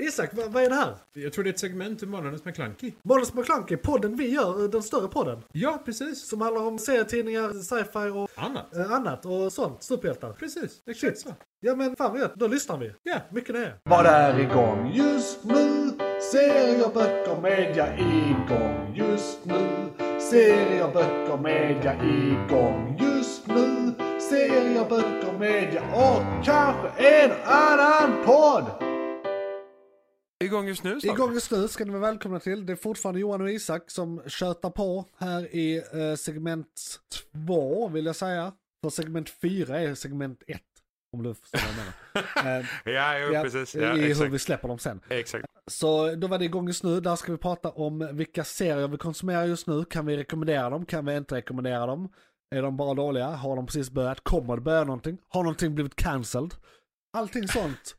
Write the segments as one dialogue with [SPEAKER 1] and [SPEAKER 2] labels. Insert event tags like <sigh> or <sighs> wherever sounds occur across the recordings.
[SPEAKER 1] Isak, vad, vad är det här?
[SPEAKER 2] Jag tror det är ett segment ur Månadens McKlunky.
[SPEAKER 1] Måns McClunky, podden vi gör, eh, den större podden.
[SPEAKER 2] Ja, precis.
[SPEAKER 1] Som handlar om serietidningar, sci-fi och
[SPEAKER 2] Annat.
[SPEAKER 1] eh, annat och sånt. Superhjältar.
[SPEAKER 2] Precis, exakt så.
[SPEAKER 1] Ja men fan vad gött, då lyssnar vi.
[SPEAKER 2] Ja.
[SPEAKER 1] Mycket det.
[SPEAKER 3] Vad är igång just nu? Serier, böcker, media igång just nu. Serier, böcker, media igång just nu. Serier, böcker, media och kanske en annan podd.
[SPEAKER 4] Igång just nu sa
[SPEAKER 1] Igång just nu ska ni vara välkomna till. Det är fortfarande Johan och Isak som tjötar på här i eh, segment två vill jag säga. För segment fyra är segment ett. Om du förstår vad jag
[SPEAKER 4] <laughs>
[SPEAKER 1] menar. Eh,
[SPEAKER 4] du? Ja, jo,
[SPEAKER 1] ja,
[SPEAKER 4] precis.
[SPEAKER 1] I
[SPEAKER 4] Ja,
[SPEAKER 1] hur
[SPEAKER 4] exakt.
[SPEAKER 1] vi släpper dem sen.
[SPEAKER 4] exakt.
[SPEAKER 1] Så då var det igång just nu. Där ska vi prata om vilka serier vi konsumerar just nu. Kan vi rekommendera dem? Kan vi inte rekommendera dem? Är de bara dåliga? Har de precis börjat? Kommer det börja någonting? Har någonting blivit cancelled? Allting sånt.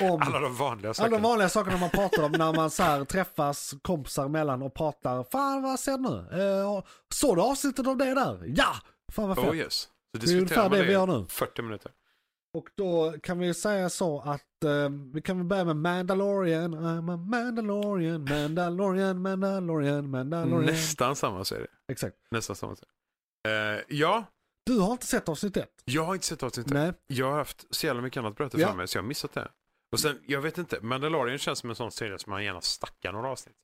[SPEAKER 1] Om...
[SPEAKER 4] Alla de vanliga
[SPEAKER 1] Alla
[SPEAKER 4] sakerna.
[SPEAKER 1] de vanliga sakerna man pratar om när man så här träffas kompisar emellan och pratar. Fan vad ser du nu? Eh, såg du avsnittet av det där? Ja! Fan vad fett.
[SPEAKER 4] Oh yes. Så
[SPEAKER 1] är ungefär
[SPEAKER 4] diskuterar man
[SPEAKER 1] det
[SPEAKER 4] det
[SPEAKER 1] vi
[SPEAKER 4] i
[SPEAKER 1] har nu.
[SPEAKER 4] 40 minuter.
[SPEAKER 1] Och då kan vi ju säga så att eh, vi kan väl börja med Mandalorian. I'm a Mandalorian, Mandalorian, Mandalorian, Mandalorian.
[SPEAKER 4] Nästan samma serie.
[SPEAKER 1] Exakt.
[SPEAKER 4] Nästan samma serie. Eh, ja,
[SPEAKER 1] Du har inte sett avsnitt ett?
[SPEAKER 4] jag har inte sett avsnittet.
[SPEAKER 1] Nej.
[SPEAKER 4] Jag har haft så jävla mycket annat bröte
[SPEAKER 1] Ja.
[SPEAKER 4] för mig så jag har missat det. Och sen, jag vet inte, Mandalorian känns som en sån serie som man gärna stackar några avsnitt.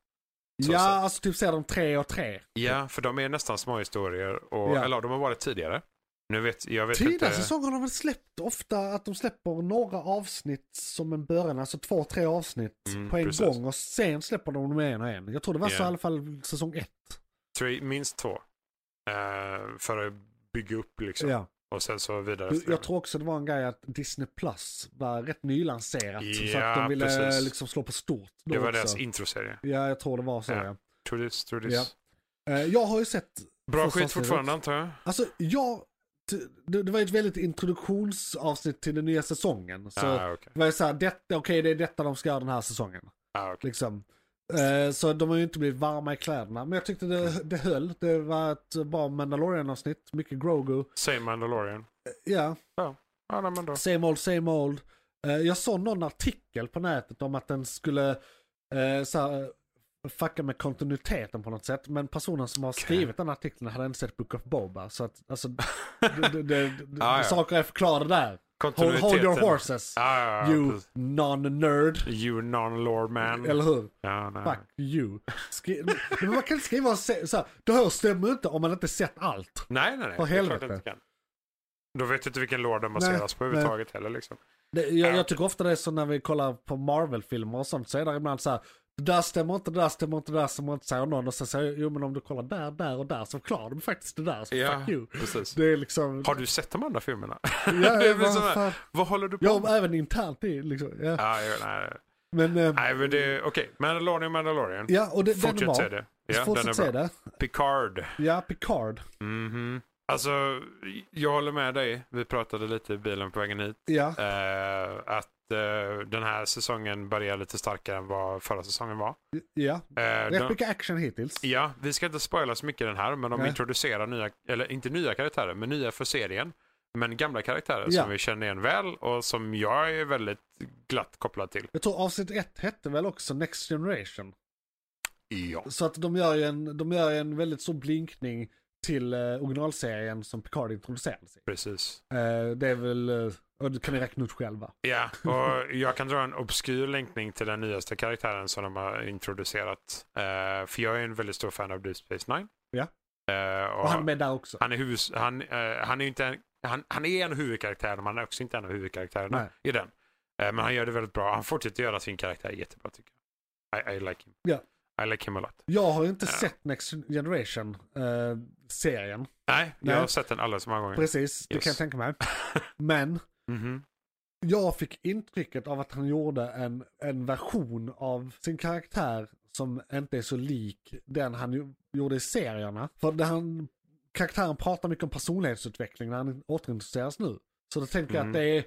[SPEAKER 4] Så
[SPEAKER 1] ja,
[SPEAKER 4] sett.
[SPEAKER 1] alltså typ ser de tre och tre.
[SPEAKER 4] Ja, för de är nästan små historier och,
[SPEAKER 1] Mm. Ja.
[SPEAKER 4] eller de har varit tidigare. Nu vet, jag vet
[SPEAKER 1] Tidigare
[SPEAKER 4] inte.
[SPEAKER 1] säsonger har de väl släppt ofta att de släpper några avsnitt som en början, alltså två, tre avsnitt
[SPEAKER 4] Mm,
[SPEAKER 1] på en
[SPEAKER 4] precis.
[SPEAKER 1] gång och sen släpper de dem en och en. Jag tror det var så
[SPEAKER 4] Ja.
[SPEAKER 1] i alla fall säsong ett.
[SPEAKER 4] Tre, minst två. Eh, för att bygga upp liksom.
[SPEAKER 1] Ja.
[SPEAKER 4] Och sen så vidare.
[SPEAKER 1] Jag,
[SPEAKER 4] efter det.
[SPEAKER 1] jag tror också det var en grej att Disney Plus var rätt nylanserat. så att de
[SPEAKER 4] Ja,
[SPEAKER 1] ville
[SPEAKER 4] precis.
[SPEAKER 1] liksom slå på stort. då
[SPEAKER 4] Det var
[SPEAKER 1] också.
[SPEAKER 4] deras introserie.
[SPEAKER 1] Ja, jag tror det var så.
[SPEAKER 4] Ja.
[SPEAKER 1] Ja.
[SPEAKER 4] True this, true this.
[SPEAKER 1] Ja. Eh, Jag har ju sett
[SPEAKER 4] Bra
[SPEAKER 1] Första
[SPEAKER 4] skit fortfarande
[SPEAKER 1] avsnittet.
[SPEAKER 4] antar jag.
[SPEAKER 1] Alltså jag, t- det, det var ju ett väldigt introduktionsavsnitt till den nya säsongen. Så
[SPEAKER 4] Ah, okej.
[SPEAKER 1] det var ju såhär, detta, okej det är detta de ska göra den här säsongen.
[SPEAKER 4] Ah, okej.
[SPEAKER 1] Liksom. Eh, så de har ju inte blivit varma i kläderna. Men jag tyckte det, det höll. Det var ett bra Mandalorian-avsnitt, mycket Grogu.
[SPEAKER 4] Same Mandalorian.
[SPEAKER 1] Ja,
[SPEAKER 4] Ja, nej, men då.
[SPEAKER 1] same old, same old. Eh, jag såg någon artikel på nätet om att den skulle eh, såhär, fucka med kontinuiteten på något sätt. Men personen som har skrivit den artikeln hade inte sett Book of Boba. Så att,
[SPEAKER 4] <laughs>
[SPEAKER 1] alltså, det, det, det,
[SPEAKER 4] Ah, ja.
[SPEAKER 1] saker är förklarade där. Hold,
[SPEAKER 4] Kontinuiteten.
[SPEAKER 1] hold your horses,
[SPEAKER 4] Ah, ja, ja,
[SPEAKER 1] you
[SPEAKER 4] precis. Mm.
[SPEAKER 1] non-nerd.
[SPEAKER 4] you non-lore man.
[SPEAKER 1] Eller hur?
[SPEAKER 4] Ja, nej.
[SPEAKER 1] Fuck you. Skri- <laughs> men man kan inte skriva och se- så här, det här stämmer inte om man inte sett allt.
[SPEAKER 4] nej, nej, nej.
[SPEAKER 1] För
[SPEAKER 4] Det är klart
[SPEAKER 1] helvete.
[SPEAKER 4] jag inte kan. Då vet du inte vilken lore den
[SPEAKER 1] Nej,
[SPEAKER 4] baseras på
[SPEAKER 1] nej.
[SPEAKER 4] överhuvudtaget heller liksom.
[SPEAKER 1] Det, jag, jag tycker ofta det är så när vi kollar på Marvel-filmer och sånt så är det ibland så här, det där stämmer inte, det där stämmer inte, det där stämmer inte, säger någon. Och sen säger jag, jo men om du kollar där, där och där så förklarar de faktiskt det där. Så fuck you.
[SPEAKER 4] precis.
[SPEAKER 1] Det är liksom...
[SPEAKER 4] Har du sett de andra filmerna? <laughs>
[SPEAKER 1] Ja,
[SPEAKER 4] det blir
[SPEAKER 1] vad
[SPEAKER 4] som här,
[SPEAKER 1] fan.
[SPEAKER 4] vad håller du på
[SPEAKER 1] Ja,
[SPEAKER 4] med?
[SPEAKER 1] men även internt i liksom. Ja.
[SPEAKER 4] Ah, ja, nej, nej.
[SPEAKER 1] Men, eh,
[SPEAKER 4] nej, men det är okej. Mandalorian, Mandalorian.
[SPEAKER 1] ja, och det, den är
[SPEAKER 4] Fortsätt se
[SPEAKER 1] bra.
[SPEAKER 4] det. Ja, den
[SPEAKER 1] Fortsätt se
[SPEAKER 4] är bra.
[SPEAKER 1] det.
[SPEAKER 4] Picard.
[SPEAKER 1] Ja, Picard.
[SPEAKER 4] Mhm. Alltså, jag håller med dig. Vi pratade lite i bilen på vägen hit.
[SPEAKER 1] Ja,
[SPEAKER 4] Eh, att eh, den här säsongen börjar lite starkare än vad förra säsongen var.
[SPEAKER 1] ja.
[SPEAKER 4] Eh,
[SPEAKER 1] Rätt
[SPEAKER 4] de,
[SPEAKER 1] mycket action hittills.
[SPEAKER 4] ja, vi ska inte spoila så mycket i den här, men de
[SPEAKER 1] Nej.
[SPEAKER 4] introducerar nya, eller inte nya karaktärer, men nya för serien. Men gamla karaktärer
[SPEAKER 1] Ja.
[SPEAKER 4] som vi känner igen väl och som jag är väldigt glatt kopplad till.
[SPEAKER 1] Jag tror avsnitt ett hette väl också Next Generation.
[SPEAKER 4] Ja.
[SPEAKER 1] Så att de gör ju en, de gör ju en väldigt stor blinkning till eh, originalserien som Picard introducerades i.
[SPEAKER 4] Precis.
[SPEAKER 1] Eh, det är väl, eh, och det kan ni räkna ut själva.
[SPEAKER 4] Ja, och jag kan dra en obskyr länkning till den nyaste karaktären som de har introducerat. Eh, för jag är en väldigt stor fan av Deep Space Nine.
[SPEAKER 1] Ja.
[SPEAKER 4] Eh, och
[SPEAKER 1] Och han är med där också.
[SPEAKER 4] Han är, huvud, han, eh, han är ju inte en, han, han är en huvudkaraktär, men han är också inte en av huvudkaraktärerna
[SPEAKER 1] Nej.
[SPEAKER 4] i den. Eh, men han gör det väldigt bra. Han fortsätter göra sin karaktär jättebra tycker jag. I, I like him.
[SPEAKER 1] Ja.
[SPEAKER 4] I like him a lot.
[SPEAKER 1] Jag har ju inte
[SPEAKER 4] Ja.
[SPEAKER 1] sett Next eh, Generation-serien.
[SPEAKER 4] Nej,
[SPEAKER 1] Nej.
[SPEAKER 4] jag har sett den alldeles för många gånger.
[SPEAKER 1] Precis, det
[SPEAKER 4] Yes.
[SPEAKER 1] kan jag
[SPEAKER 4] <laughs>
[SPEAKER 1] tänka mig. Men
[SPEAKER 4] Mhm.
[SPEAKER 1] jag fick intrycket av att han gjorde en, en version av sin karaktär som inte är så lik den han ju- gjorde i serierna. För det han, karaktären pratar mycket om personlighetsutveckling när han återintroduceras nu. Så då tänker jag att
[SPEAKER 4] Mm.
[SPEAKER 1] det är,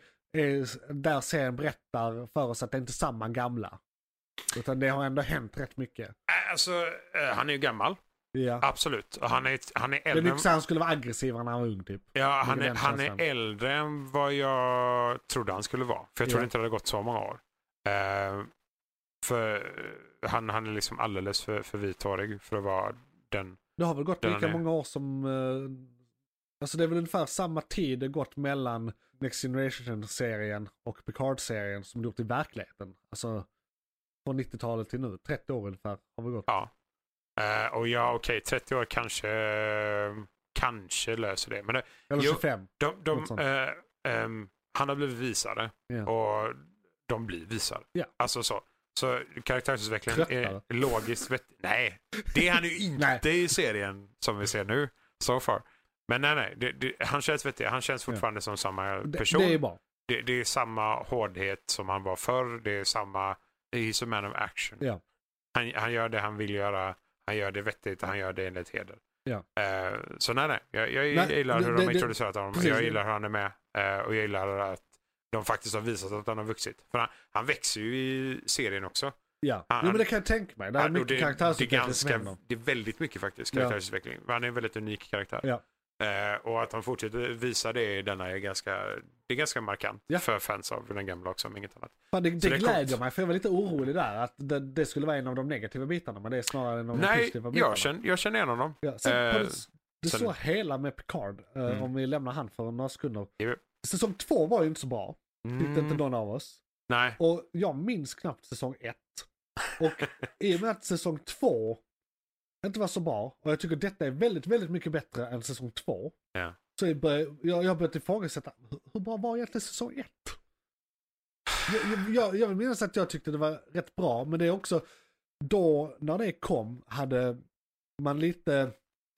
[SPEAKER 1] är där serien berättar för oss att det inte är samma gamla. Utan det har ändå hänt rätt mycket.
[SPEAKER 4] Eh, Alltså, eh, han är ju gammal.
[SPEAKER 1] Ja.
[SPEAKER 4] Absolut. Och han är, han är
[SPEAKER 1] Det är
[SPEAKER 4] äldre.
[SPEAKER 1] mycket så han skulle vara aggressivare när han var ung typ.
[SPEAKER 4] Ja, han
[SPEAKER 1] Mycket
[SPEAKER 4] är,
[SPEAKER 1] den
[SPEAKER 4] han
[SPEAKER 1] känslan.
[SPEAKER 4] är äldre än vad jag trodde han skulle vara. För jag trodde
[SPEAKER 1] Ja.
[SPEAKER 4] inte det hade gått så många år. Eh, För eh, han, han är liksom alldeles för, för vithårig för att vara den.
[SPEAKER 1] Det har väl gått
[SPEAKER 4] Den
[SPEAKER 1] lika
[SPEAKER 4] är-
[SPEAKER 1] många år som... eh, Alltså det är väl ungefär samma tid det gått mellan Next Generation-serien och Picard-serien som det gjort i verkligheten. Alltså från 90-talet till nu, 30 år ungefär har vi gått.
[SPEAKER 4] Ja. Eh, och ja, okej, 30 år kanske, eh, kanske löser det. Men det,
[SPEAKER 1] Eller
[SPEAKER 4] jo.
[SPEAKER 1] 25.
[SPEAKER 4] de,
[SPEAKER 1] Något
[SPEAKER 4] de,
[SPEAKER 1] sånt.
[SPEAKER 4] eh, ehm, han har blivit visare
[SPEAKER 1] Ja.
[SPEAKER 4] och de blir visare.
[SPEAKER 1] Ja.
[SPEAKER 4] Alltså så. Så karaktärsutvecklingen
[SPEAKER 1] Tröttare.
[SPEAKER 4] är logiskt vettig. Nej, det är
[SPEAKER 1] <laughs>
[SPEAKER 4] han ju
[SPEAKER 1] Nej.
[SPEAKER 4] inte i serien som vi ser nu. So far. Men nej, nej. Det, det, han känns vettig. Han känns fortfarande som samma
[SPEAKER 1] Det,
[SPEAKER 4] person.
[SPEAKER 1] det är bra.
[SPEAKER 4] Det, det är samma hårdhet som han var förr. Det är samma... He's a man of action.
[SPEAKER 1] Ja.
[SPEAKER 4] Han, han gör det han vill göra. Han gör det vettigt och han gör det enligt heder.
[SPEAKER 1] Ja.
[SPEAKER 4] Eh, så nej, nej. Jag, jag
[SPEAKER 1] Nej,
[SPEAKER 4] gillar hur
[SPEAKER 1] det-
[SPEAKER 4] de
[SPEAKER 1] det-
[SPEAKER 4] har introducerat honom.
[SPEAKER 1] precis.
[SPEAKER 4] Jag gillar hur han är med. eh, och jag gillar att de faktiskt har visat att han har vuxit. För han, han växer ju i serien också.
[SPEAKER 1] Ja,
[SPEAKER 4] Han-
[SPEAKER 1] jo, men det kan jag tänka mig. Det är
[SPEAKER 4] Han- och
[SPEAKER 1] mycket
[SPEAKER 4] det, är
[SPEAKER 1] karaktärsutveckling som
[SPEAKER 4] ganska,
[SPEAKER 1] händer.
[SPEAKER 4] det är väldigt mycket faktiskt
[SPEAKER 1] Ja.
[SPEAKER 4] karaktärsutveckling. Han är en väldigt unik karaktär.
[SPEAKER 1] Ja.
[SPEAKER 4] Eh, och att han fortsätter visa det i denna är ganska, det är ganska markant
[SPEAKER 1] Ja.
[SPEAKER 4] för fans av den gamla också, om inget annat.
[SPEAKER 1] Fan, det
[SPEAKER 4] det
[SPEAKER 1] det
[SPEAKER 4] är
[SPEAKER 1] glädjer
[SPEAKER 4] coolt.
[SPEAKER 1] mig, för jag var lite orolig där att det, det skulle vara en av de negativa bitarna, men det är snarare en av de
[SPEAKER 4] Nej,
[SPEAKER 1] positiva bitarna.
[SPEAKER 4] jag känner, jag känner igen honom.
[SPEAKER 1] Ja, sen,
[SPEAKER 4] Eh,
[SPEAKER 1] har du, du
[SPEAKER 4] sen-
[SPEAKER 1] såg hela med Picard, eh,
[SPEAKER 4] Mm.
[SPEAKER 1] om vi lämnar han för några sekunder.
[SPEAKER 4] Jo.
[SPEAKER 1] Säsong två var ju inte så bra, tyckte
[SPEAKER 4] Mm,
[SPEAKER 1] inte någon av oss.
[SPEAKER 4] Nej,
[SPEAKER 1] Och jag minns knappt säsong ett. Och
[SPEAKER 4] <laughs>
[SPEAKER 1] i och med att säsong två inte var så bra, och jag tycker detta är väldigt, väldigt mycket bättre än säsong två.
[SPEAKER 4] Ja.
[SPEAKER 1] Så jag börjar jag, jag börjat ifrågasätta, hur- hur bra var egentligen säsong ett? Jag, jag, jag, jag vill minnas att jag tyckte det var rätt bra, men det är också då när det kom hade man lite,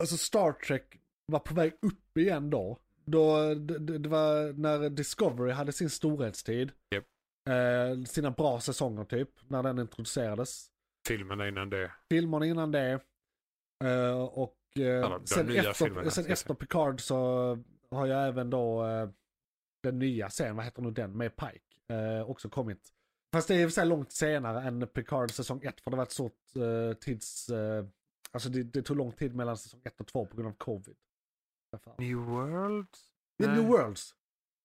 [SPEAKER 1] alltså Star Trek var på väg upp igen då. då det, det det var när Discovery hade sin storhetstid.
[SPEAKER 4] Japp.
[SPEAKER 1] Eh, sina bra säsonger typ, när den introducerades.
[SPEAKER 4] filmerna innan det.
[SPEAKER 1] Filmerna innan det. Eh, och eh,
[SPEAKER 4] Alla de
[SPEAKER 1] sen,
[SPEAKER 4] nya
[SPEAKER 1] efter,
[SPEAKER 4] filmerna,
[SPEAKER 1] sen
[SPEAKER 4] ska jag
[SPEAKER 1] efter Picard så har jag även då eh, den nya serien, vad heter nu den, med Pike, eh, också kommit. Fast det är i och för sig långt senare än Picard säsong 1 för det var ett stort eh, tids... Eh, alltså det, det tog lång tid mellan säsong 1 och 2 på grund av covid. Därför.
[SPEAKER 4] New World?
[SPEAKER 1] Det är
[SPEAKER 4] Nej.
[SPEAKER 1] New Worlds.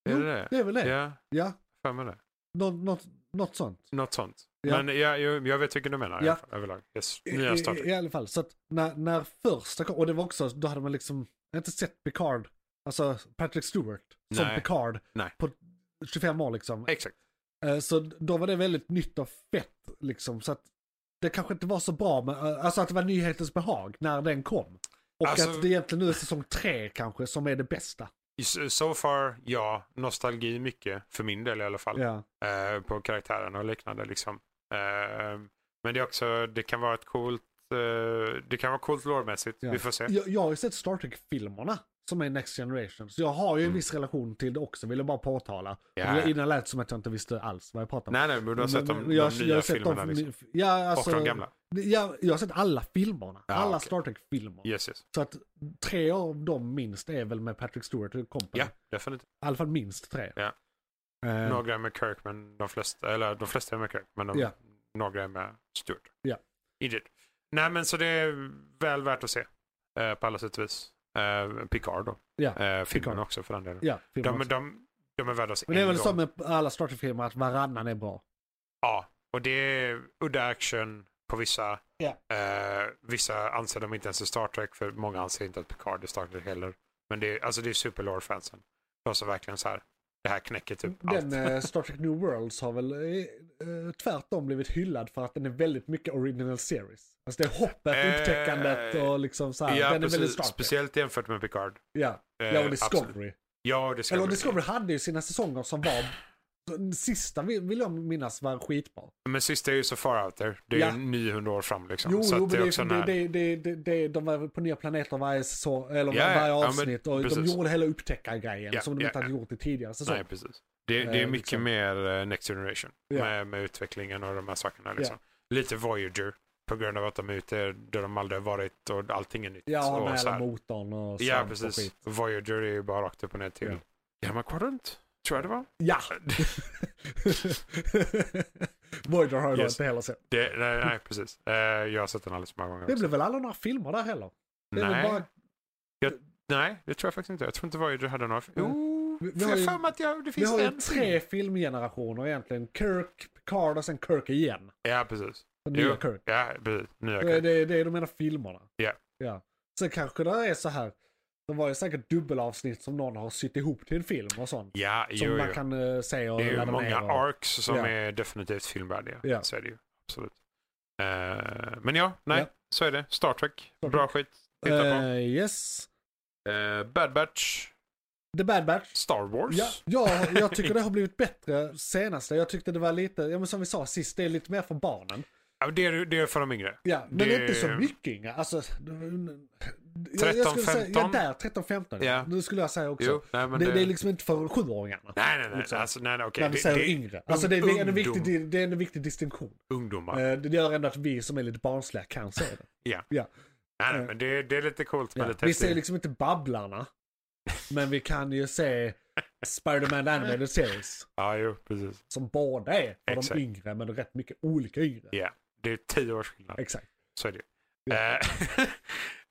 [SPEAKER 4] Är
[SPEAKER 1] Jo,
[SPEAKER 4] det det?
[SPEAKER 1] Det är väl det?
[SPEAKER 4] Ja,
[SPEAKER 1] Ja,
[SPEAKER 4] för mig det.
[SPEAKER 1] nå- något, något sånt.
[SPEAKER 4] Något sånt.
[SPEAKER 1] Ja.
[SPEAKER 4] Men jag, jag, jag vet vilken du menar i
[SPEAKER 1] Ja. Eh,
[SPEAKER 4] alla fall, överlag. Yes.
[SPEAKER 1] I-
[SPEAKER 4] Nya Star
[SPEAKER 1] i,
[SPEAKER 4] Trek.
[SPEAKER 1] I alla fall, så att när, när första kom, och det var också, då hade man liksom inte sett Picard, alltså Patrick Stewart, som
[SPEAKER 4] Nej.
[SPEAKER 1] Picard
[SPEAKER 4] Nej.
[SPEAKER 1] på 25 år liksom.
[SPEAKER 4] Exakt.
[SPEAKER 1] Eh, Så då var det väldigt nytt och fett liksom, så att det kanske inte var så bra, men, eh, alltså att det var nyhetens behag när den kom. Och
[SPEAKER 4] Alltså-
[SPEAKER 1] att det egentligen nu är säsong tre kanske som är det bästa.
[SPEAKER 4] So- So far, ja. Nostalgi mycket, för min del i alla fall.
[SPEAKER 1] Ja,
[SPEAKER 4] eh, på karaktärerna och liknande. Liksom. Eh, men det är också, det kan vara ett coolt, eh, det kan vara coolt lårmässigt.
[SPEAKER 1] ja.
[SPEAKER 4] Vi får se.
[SPEAKER 1] Jag, jag har ju sett Star Trek-filmerna som är Next Generation, så jag har ju en viss relation till det också, vill jag bara påtala.
[SPEAKER 4] Mm. Ja.
[SPEAKER 1] Yeah. Innan lät det som att jag inte visste alls vad jag pratade om.
[SPEAKER 4] Nej, nej, men du har sett de,
[SPEAKER 1] Men-
[SPEAKER 4] de
[SPEAKER 1] jag-
[SPEAKER 4] nya
[SPEAKER 1] jag har sett de-
[SPEAKER 4] filmerna liksom.
[SPEAKER 1] Ja, alltså,
[SPEAKER 4] och de gamla.
[SPEAKER 1] Ja, jag har sett alla filmerna.
[SPEAKER 4] Ja,
[SPEAKER 1] alla
[SPEAKER 4] okej.
[SPEAKER 1] Star Trek-filmer.
[SPEAKER 4] Yes, yes.
[SPEAKER 1] Så att tre av dem minst är väl med Patrick Stewart och kompani.
[SPEAKER 4] Ja, definitivt.
[SPEAKER 1] I alla fall minst tre.
[SPEAKER 4] Ja.
[SPEAKER 1] Eh,
[SPEAKER 4] Några med Kirk, men de flesta, eller de flesta är med Kirk, men de,
[SPEAKER 1] Ja.
[SPEAKER 4] några är med Stewart.
[SPEAKER 1] Ja.
[SPEAKER 4] Indeed. Nej, men så det är väl värt att se eh, på alla sätt och vis. Eh, Picard då.
[SPEAKER 1] Ja,
[SPEAKER 4] Eh, filmen
[SPEAKER 1] Picard.
[SPEAKER 4] också för den delen.
[SPEAKER 1] ja, filmer
[SPEAKER 4] De,
[SPEAKER 1] också.
[SPEAKER 4] de, de är värda att se
[SPEAKER 1] Men det är
[SPEAKER 4] en
[SPEAKER 1] väl
[SPEAKER 4] gång.
[SPEAKER 1] så med alla Star Trek-filmer att varannan är bra.
[SPEAKER 4] Ja, och det är udda action på vissa.
[SPEAKER 1] Ja.
[SPEAKER 4] Eh, vissa anser de inte ens är Star Trek för många anser inte att Picard är Star Trek heller. Men det är, alltså det är superlore-fansen. De som verkligen så här, det här knäcker typ
[SPEAKER 1] Den
[SPEAKER 4] allt.
[SPEAKER 1] eh, Star Trek New Worlds har väl eh, eh, tvärtom blivit hyllad för att den är väldigt mycket original series. Alltså det är hoppet,
[SPEAKER 4] Eh,
[SPEAKER 1] upptäckandet och liksom så här.
[SPEAKER 4] ja,
[SPEAKER 1] den är
[SPEAKER 4] precis.
[SPEAKER 1] väldigt Star Trek.
[SPEAKER 4] Speciellt jämfört med Picard.
[SPEAKER 1] Ja,
[SPEAKER 4] Eh,
[SPEAKER 1] ja och
[SPEAKER 4] absolut.
[SPEAKER 1] Discovery.
[SPEAKER 4] Ja, och Discovery.
[SPEAKER 1] Eller Discovery hade ju sina säsonger som var, den sista vill vill jag minnas var skitbra.
[SPEAKER 4] Men sist är ju så far out there. Det är
[SPEAKER 1] Ja.
[SPEAKER 4] ju 900 år fram liksom.
[SPEAKER 1] Jo,
[SPEAKER 4] så
[SPEAKER 1] jo
[SPEAKER 4] att
[SPEAKER 1] men
[SPEAKER 4] det är
[SPEAKER 1] det,
[SPEAKER 4] också
[SPEAKER 1] det,
[SPEAKER 4] när...
[SPEAKER 1] det, det, det, det, de var på nya planeter varje säsong, eller
[SPEAKER 4] Ja, ja,
[SPEAKER 1] varje
[SPEAKER 4] ja, men
[SPEAKER 1] avsnitt. och de
[SPEAKER 4] precis.
[SPEAKER 1] gjorde hela upptäckargrejen
[SPEAKER 4] Ja,
[SPEAKER 1] som de
[SPEAKER 4] ja,
[SPEAKER 1] inte hade gjort i tidigare säsonger.
[SPEAKER 4] Nej, precis. Det,
[SPEAKER 1] Eh,
[SPEAKER 4] det är mycket
[SPEAKER 1] liksom.
[SPEAKER 4] mer eh, Next Generation
[SPEAKER 1] Ja.
[SPEAKER 4] med, med utvecklingen och de här sakerna. Liksom. Lite Voyager på grund av att de är ute där de aldrig har varit och allting är nytt.
[SPEAKER 1] Ja,
[SPEAKER 4] och
[SPEAKER 1] med
[SPEAKER 4] så
[SPEAKER 1] hela
[SPEAKER 4] här.
[SPEAKER 1] motorn och
[SPEAKER 4] ja
[SPEAKER 1] svamp och
[SPEAKER 4] precis.
[SPEAKER 1] skit.
[SPEAKER 4] Voyager är ju bara rakt upp och ner till
[SPEAKER 1] Ja.
[SPEAKER 4] Gamma Quadrant, tror jag det var. <laughs>
[SPEAKER 1] Ja! Voyager har jag
[SPEAKER 4] Yes.
[SPEAKER 1] då inte heller sett.
[SPEAKER 4] Det, nej, nej, precis. Eh, jag har sett den alldeles för många gånger.
[SPEAKER 1] Det blev väl aldrig några filmer där heller? Det är väl
[SPEAKER 4] nej,
[SPEAKER 1] bara...
[SPEAKER 4] nej, det tror jag faktiskt inte. Jag tror inte Voyager hade några... Jo,
[SPEAKER 1] Vi- vi
[SPEAKER 4] jag
[SPEAKER 1] har
[SPEAKER 4] har
[SPEAKER 1] ju-
[SPEAKER 4] för mig att jag, det
[SPEAKER 1] Vi
[SPEAKER 4] finns
[SPEAKER 1] har ju
[SPEAKER 4] en
[SPEAKER 1] tre filmgenerationer egentligen. Kirk, Picard och sen Kirk igen.
[SPEAKER 4] Ja, precis.
[SPEAKER 1] Den nya
[SPEAKER 4] Jo.
[SPEAKER 1] Kirk.
[SPEAKER 4] Ja, precis. Nya
[SPEAKER 1] Det, är-
[SPEAKER 4] Kirk.
[SPEAKER 1] det, är- det är de ena filmerna.
[SPEAKER 4] Ja.
[SPEAKER 1] ja. Sen kanske det är så här. Det var ju säkert dubbelavsnitt som någon har sytt ihop till en film och sånt.
[SPEAKER 4] Ja,
[SPEAKER 1] Som
[SPEAKER 4] jo,
[SPEAKER 1] man
[SPEAKER 4] jo.
[SPEAKER 1] kan eh, se och
[SPEAKER 4] Det är ju
[SPEAKER 1] ladda
[SPEAKER 4] många
[SPEAKER 1] ner och...
[SPEAKER 4] arcs som
[SPEAKER 1] Ja.
[SPEAKER 4] är definitivt filmvärdiga.
[SPEAKER 1] Ja.
[SPEAKER 4] Så är det ju. Absolut. Eh, men ja, nej.
[SPEAKER 1] Ja.
[SPEAKER 4] Så är det. Star Trek. Bra skit. Titta på.
[SPEAKER 1] Eh, yes.
[SPEAKER 4] Eh, Bad Batch.
[SPEAKER 1] The Bad Batch.
[SPEAKER 4] Star Wars.
[SPEAKER 1] Ja, ja, jag tycker
[SPEAKER 4] <laughs>
[SPEAKER 1] det har blivit bättre senaste. Jag tyckte det var lite, ja, men som vi sa sist, det är lite mer för barnen.
[SPEAKER 4] Ja, det, är, det är för de yngre.
[SPEAKER 1] Ja, men
[SPEAKER 4] Det-
[SPEAKER 1] inte så mycket Inga. Alltså, jag,
[SPEAKER 4] 13,
[SPEAKER 1] jag skulle säga, ja
[SPEAKER 4] 15.
[SPEAKER 1] där, 13-15.
[SPEAKER 4] Ja.
[SPEAKER 1] Det skulle jag säga också.
[SPEAKER 4] Jo, nej, men
[SPEAKER 1] det,
[SPEAKER 4] det-
[SPEAKER 1] det är liksom inte för sjuåringarna.
[SPEAKER 4] Nej, nej, nej.
[SPEAKER 1] Liksom.
[SPEAKER 4] Alltså, nej, nej okej.
[SPEAKER 1] när vi säger yngre. Alltså det, det, är en
[SPEAKER 4] ungdom-
[SPEAKER 1] viktig, det är en viktig distinktion.
[SPEAKER 4] Ungdomar.
[SPEAKER 1] Eh, Det gör ändå att vi som är lite barnsliga kan se det.
[SPEAKER 4] Ja.
[SPEAKER 1] Ja.
[SPEAKER 4] nej, nej, men det, det är lite coolt med
[SPEAKER 1] eh. Ja.
[SPEAKER 4] lite
[SPEAKER 1] Vi ser
[SPEAKER 4] häftigt.
[SPEAKER 1] liksom inte Babblarna. Men vi kan ju se Spider-Man The Animated Series.
[SPEAKER 4] Ja, jo, precis.
[SPEAKER 1] Som båda är för
[SPEAKER 4] Exakt.
[SPEAKER 1] de yngre, men rätt mycket olika yngre.
[SPEAKER 4] Ja, det är tio års skillnad.
[SPEAKER 1] Exakt.
[SPEAKER 4] Så är det ju.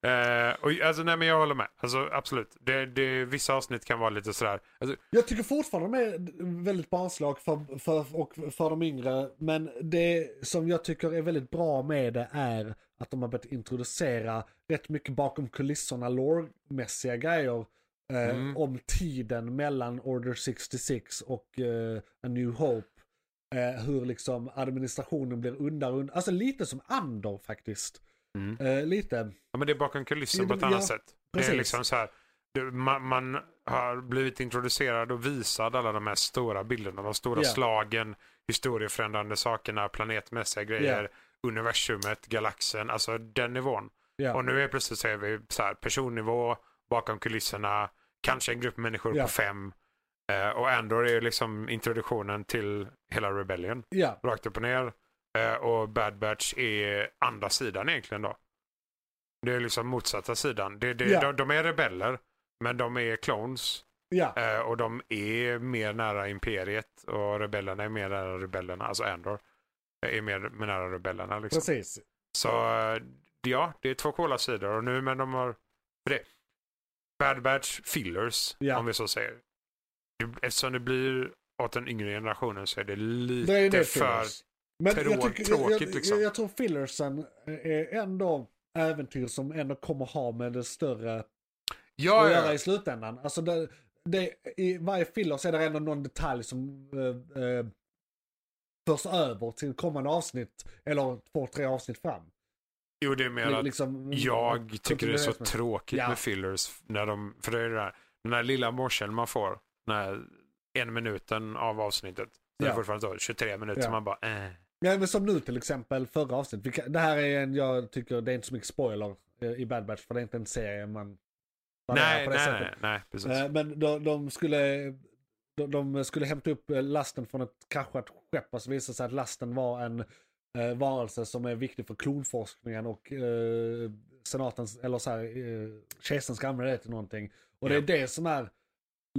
[SPEAKER 4] Eh, eh, <laughs> och, alltså, nej, men jag håller med. Alltså, absolut. Det, det, vissa avsnitt kan vara lite sådär. Alltså,
[SPEAKER 1] Jag tycker fortfarande de är väldigt barnslag för, för, och för de yngre. Men det som jag tycker är väldigt bra med det är att de har börjat introducera rätt mycket bakom kulisserna lore-mässiga grejer. Eh,
[SPEAKER 4] Mm.
[SPEAKER 1] Om tiden mellan Order 66 och eh, A New Hope. Eh, hur liksom administrationen blir undan undan. Alltså lite som Andor faktiskt.
[SPEAKER 4] Mm.
[SPEAKER 1] Eh, lite.
[SPEAKER 4] ja, men det är bakom kulissen
[SPEAKER 1] Ja,
[SPEAKER 4] på
[SPEAKER 1] det-
[SPEAKER 4] ett annat
[SPEAKER 1] ja,
[SPEAKER 4] sätt. Det
[SPEAKER 1] precis.
[SPEAKER 4] är liksom så här. Det, man, man har blivit introducerad och visad alla de här stora bilderna. De stora
[SPEAKER 1] Ja.
[SPEAKER 4] slagen, historieförändrande sakerna, planetmässiga grejer, universumet, galaxen. Alltså den nivån.
[SPEAKER 1] Ja.
[SPEAKER 4] Och nu är plötsligt så är vi så här, personnivå, bakom kulisserna, kanske en grupp människor
[SPEAKER 1] Ja.
[SPEAKER 4] på fem. Eh, och Andor är ju liksom introduktionen till hela Rebellion,
[SPEAKER 1] ja.
[SPEAKER 4] rakt upp och ner. Eh, och Bad Batch är andra sidan egentligen då. Det är liksom motsatta sidan. Det, det,
[SPEAKER 1] Ja.
[SPEAKER 4] de, de är rebeller, men de är clones.
[SPEAKER 1] Ja.
[SPEAKER 4] Eh, och de är mer nära Imperiet och rebellerna är mer nära rebellerna, alltså Andor. Är mer, mer nära rebellerna liksom.
[SPEAKER 1] Precis.
[SPEAKER 4] Så eh, ja, det är två coola sidor och nu men de har för det. Bad Batch fillers
[SPEAKER 1] Ja.
[SPEAKER 4] om vi så säger. Det- Eftersom det blir åt den yngre generationen så är det lite
[SPEAKER 1] Det är det
[SPEAKER 4] för...
[SPEAKER 1] fillers. Men jag,
[SPEAKER 4] trå-
[SPEAKER 1] tycker, jag, jag,
[SPEAKER 4] tråkigt, liksom.
[SPEAKER 1] jag, jag tror fillersen eh, är ändå äventyr som ändå kommer ha med det större
[SPEAKER 4] Ja,
[SPEAKER 1] att göra
[SPEAKER 4] ja,
[SPEAKER 1] i slutändan. Alltså det, det, I varje filler så är det ändå någon detalj som eh, eh, förs över till kommande avsnitt eller två, tre avsnitt fram.
[SPEAKER 4] jo, det är mer att
[SPEAKER 1] liksom,
[SPEAKER 4] jag tycker det är så tråkigt
[SPEAKER 1] Ja.
[SPEAKER 4] med fillers. När de, för det är det där, den där lilla morseln man får, den här en minuten av avsnittet. Det är
[SPEAKER 1] Ja.
[SPEAKER 4] fortfarande så, 23 minuter,
[SPEAKER 1] Ja.
[SPEAKER 4] man bara eh.
[SPEAKER 1] Ja, men som nu till exempel förra avsnittet. Vi kan- Det här är en, jag tycker det är inte så mycket spoiler eh, i Bad Batch för det är inte en serie man...
[SPEAKER 4] Nej,
[SPEAKER 1] på det
[SPEAKER 4] nej,
[SPEAKER 1] sättet.
[SPEAKER 4] nej, nej, precis.
[SPEAKER 1] Eh, Men de, de skulle... De, de skulle hämta upp eh, lasten från ett kraschat skepp och så visade det sig att lasten var en eh, varelse som är viktig för klonforskningen och eh, senatens, eller så här, eh, kejsaren ska använda det till någonting. Och det är det som är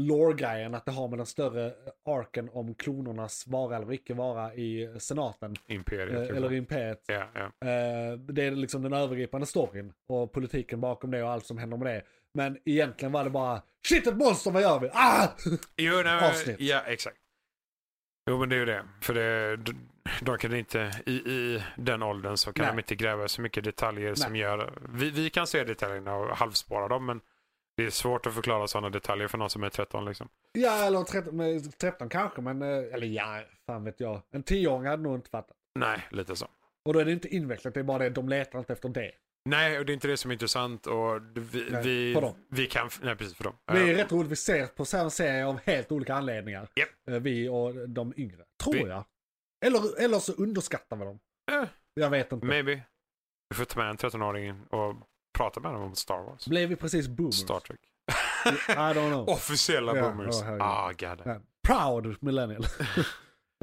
[SPEAKER 1] lore-grejen, att det har med den större arken om klonernas vara eller icke vara i senaten,
[SPEAKER 4] Imperiet.
[SPEAKER 1] eh,
[SPEAKER 4] liksom.
[SPEAKER 1] eller imperiet.
[SPEAKER 4] ja, ja.
[SPEAKER 1] Eh, Det är liksom den övergripande storyn och politiken bakom det och allt som händer med det. Men egentligen var det bara Shit ett monster, vad gör vi? Ah! <laughs>
[SPEAKER 4] Jo, nej, men-
[SPEAKER 1] avsnitt.
[SPEAKER 4] Ja, exakt. Jo, men det är ju det. För det, de, de kan inte, i, i den åldern så kan
[SPEAKER 1] Nej.
[SPEAKER 4] de inte gräva så mycket detaljer som
[SPEAKER 1] Nej.
[SPEAKER 4] gör... Vi, vi kan se detaljerna och halvspåra dem, men det är svårt att förklara sådana detaljer för någon som är 13. Liksom.
[SPEAKER 1] Ja, eller 13, men 13 kanske, men eh, eller ja, fan vet jag. En 10-åring hade nog inte fattat.
[SPEAKER 4] Nej, lite så.
[SPEAKER 1] Och då är det inte invecklat, det är bara det, de letar inte efter det.
[SPEAKER 4] Nej, och det är inte det som är intressant och vi,
[SPEAKER 1] Nej, för
[SPEAKER 4] vi,
[SPEAKER 1] dem.
[SPEAKER 4] vi kan... Nej, precis för dem.
[SPEAKER 1] Det är
[SPEAKER 4] Ja.
[SPEAKER 1] rätt roligt, vi ser på samma serie av helt olika anledningar.
[SPEAKER 4] Japp.
[SPEAKER 1] Eh, Vi och de yngre, tror
[SPEAKER 4] Vi-
[SPEAKER 1] jag. Eller, eller så underskattar vi dem.
[SPEAKER 4] Eh,
[SPEAKER 1] Jag vet inte.
[SPEAKER 4] Maybe. Vi får ta med en 13-åring och prata med dem om Star Wars.
[SPEAKER 1] Blev vi precis boomers?
[SPEAKER 4] Star Trek.
[SPEAKER 1] I don't
[SPEAKER 4] <laughs>
[SPEAKER 1] know.
[SPEAKER 4] Officiella
[SPEAKER 1] Ja,
[SPEAKER 4] boomers.
[SPEAKER 1] ja, herregud.
[SPEAKER 4] ah, god.
[SPEAKER 1] Ja, Eh, Proud
[SPEAKER 4] <laughs>
[SPEAKER 1] millennial.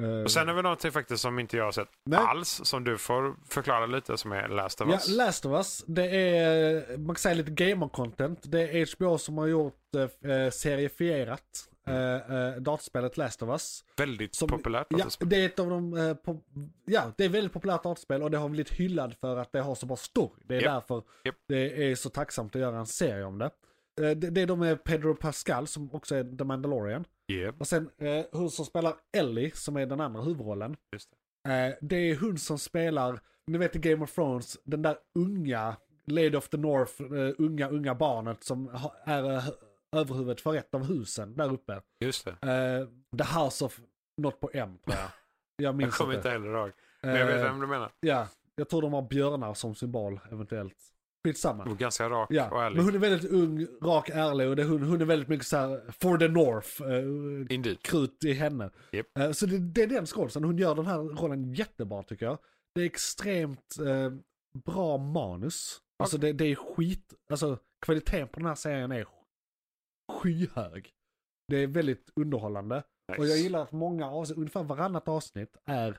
[SPEAKER 1] Eh,
[SPEAKER 4] Och sen är väl någonting faktiskt som inte jag har sett
[SPEAKER 1] Nej.
[SPEAKER 4] alls, som du får förklara lite, som är Last of
[SPEAKER 1] Ja,
[SPEAKER 4] Us.
[SPEAKER 1] Last of Us, det är, man kan säga lite gamer-content. Det är HBO som har gjort eh, serifierat
[SPEAKER 4] Mm.
[SPEAKER 1] eh, eh, dataspelet Last of Us.
[SPEAKER 4] Väldigt
[SPEAKER 1] Som-
[SPEAKER 4] populärt.
[SPEAKER 1] Ja,
[SPEAKER 4] alltså.
[SPEAKER 1] det är ett av de, eh, po- ja, det är väldigt populärt dataspel och det har blivit hyllad för att det har så bra story. Det är
[SPEAKER 4] Japp.
[SPEAKER 1] därför
[SPEAKER 4] Japp.
[SPEAKER 1] det är så tacksamt att göra en serie om det. Eh, det, det är de med Pedro Pascal som också är The Mandalorian.
[SPEAKER 4] Yep.
[SPEAKER 1] Och sen eh, hon som spelar Ellie som är den andra huvudrollen.
[SPEAKER 4] Just det.
[SPEAKER 1] Eh, det är hon som spelar, ni vet i Game of Thrones, den där unga Lady of the North, eh, unga, unga barnet som ha, är eh, överhuvudet för ett av husen där uppe.
[SPEAKER 4] Just det.
[SPEAKER 1] Eh, the House of, något på M tror
[SPEAKER 4] <laughs>
[SPEAKER 1] jag. Jag
[SPEAKER 4] Jag
[SPEAKER 1] minns
[SPEAKER 4] kommer inte heller ihåg. Men jag
[SPEAKER 1] Eh,
[SPEAKER 4] vet vem du menar.
[SPEAKER 1] Ja, jag tror de har björnar som symbol eventuellt. Skitsamma.
[SPEAKER 4] Och ganska rak
[SPEAKER 1] Eh, Ja,
[SPEAKER 4] och
[SPEAKER 1] men
[SPEAKER 4] ärlig.
[SPEAKER 1] hon är väldigt ung, rak, ärlig och det, hon, hon är väldigt mycket så här for the North. eh,
[SPEAKER 4] Indeed.
[SPEAKER 1] krut i henne.
[SPEAKER 4] Japp.
[SPEAKER 1] Eh, så det, det är den skådisen, hon gör den här rollen jättebra tycker jag. Det är extremt eh, bra manus. Alltså det, det är skit, alltså kvaliteten på den här serien är skyhög. Det är väldigt underhållande.
[SPEAKER 4] Nice.
[SPEAKER 1] Och jag gillar att många avsnitt, ungefär varannat avsnitt är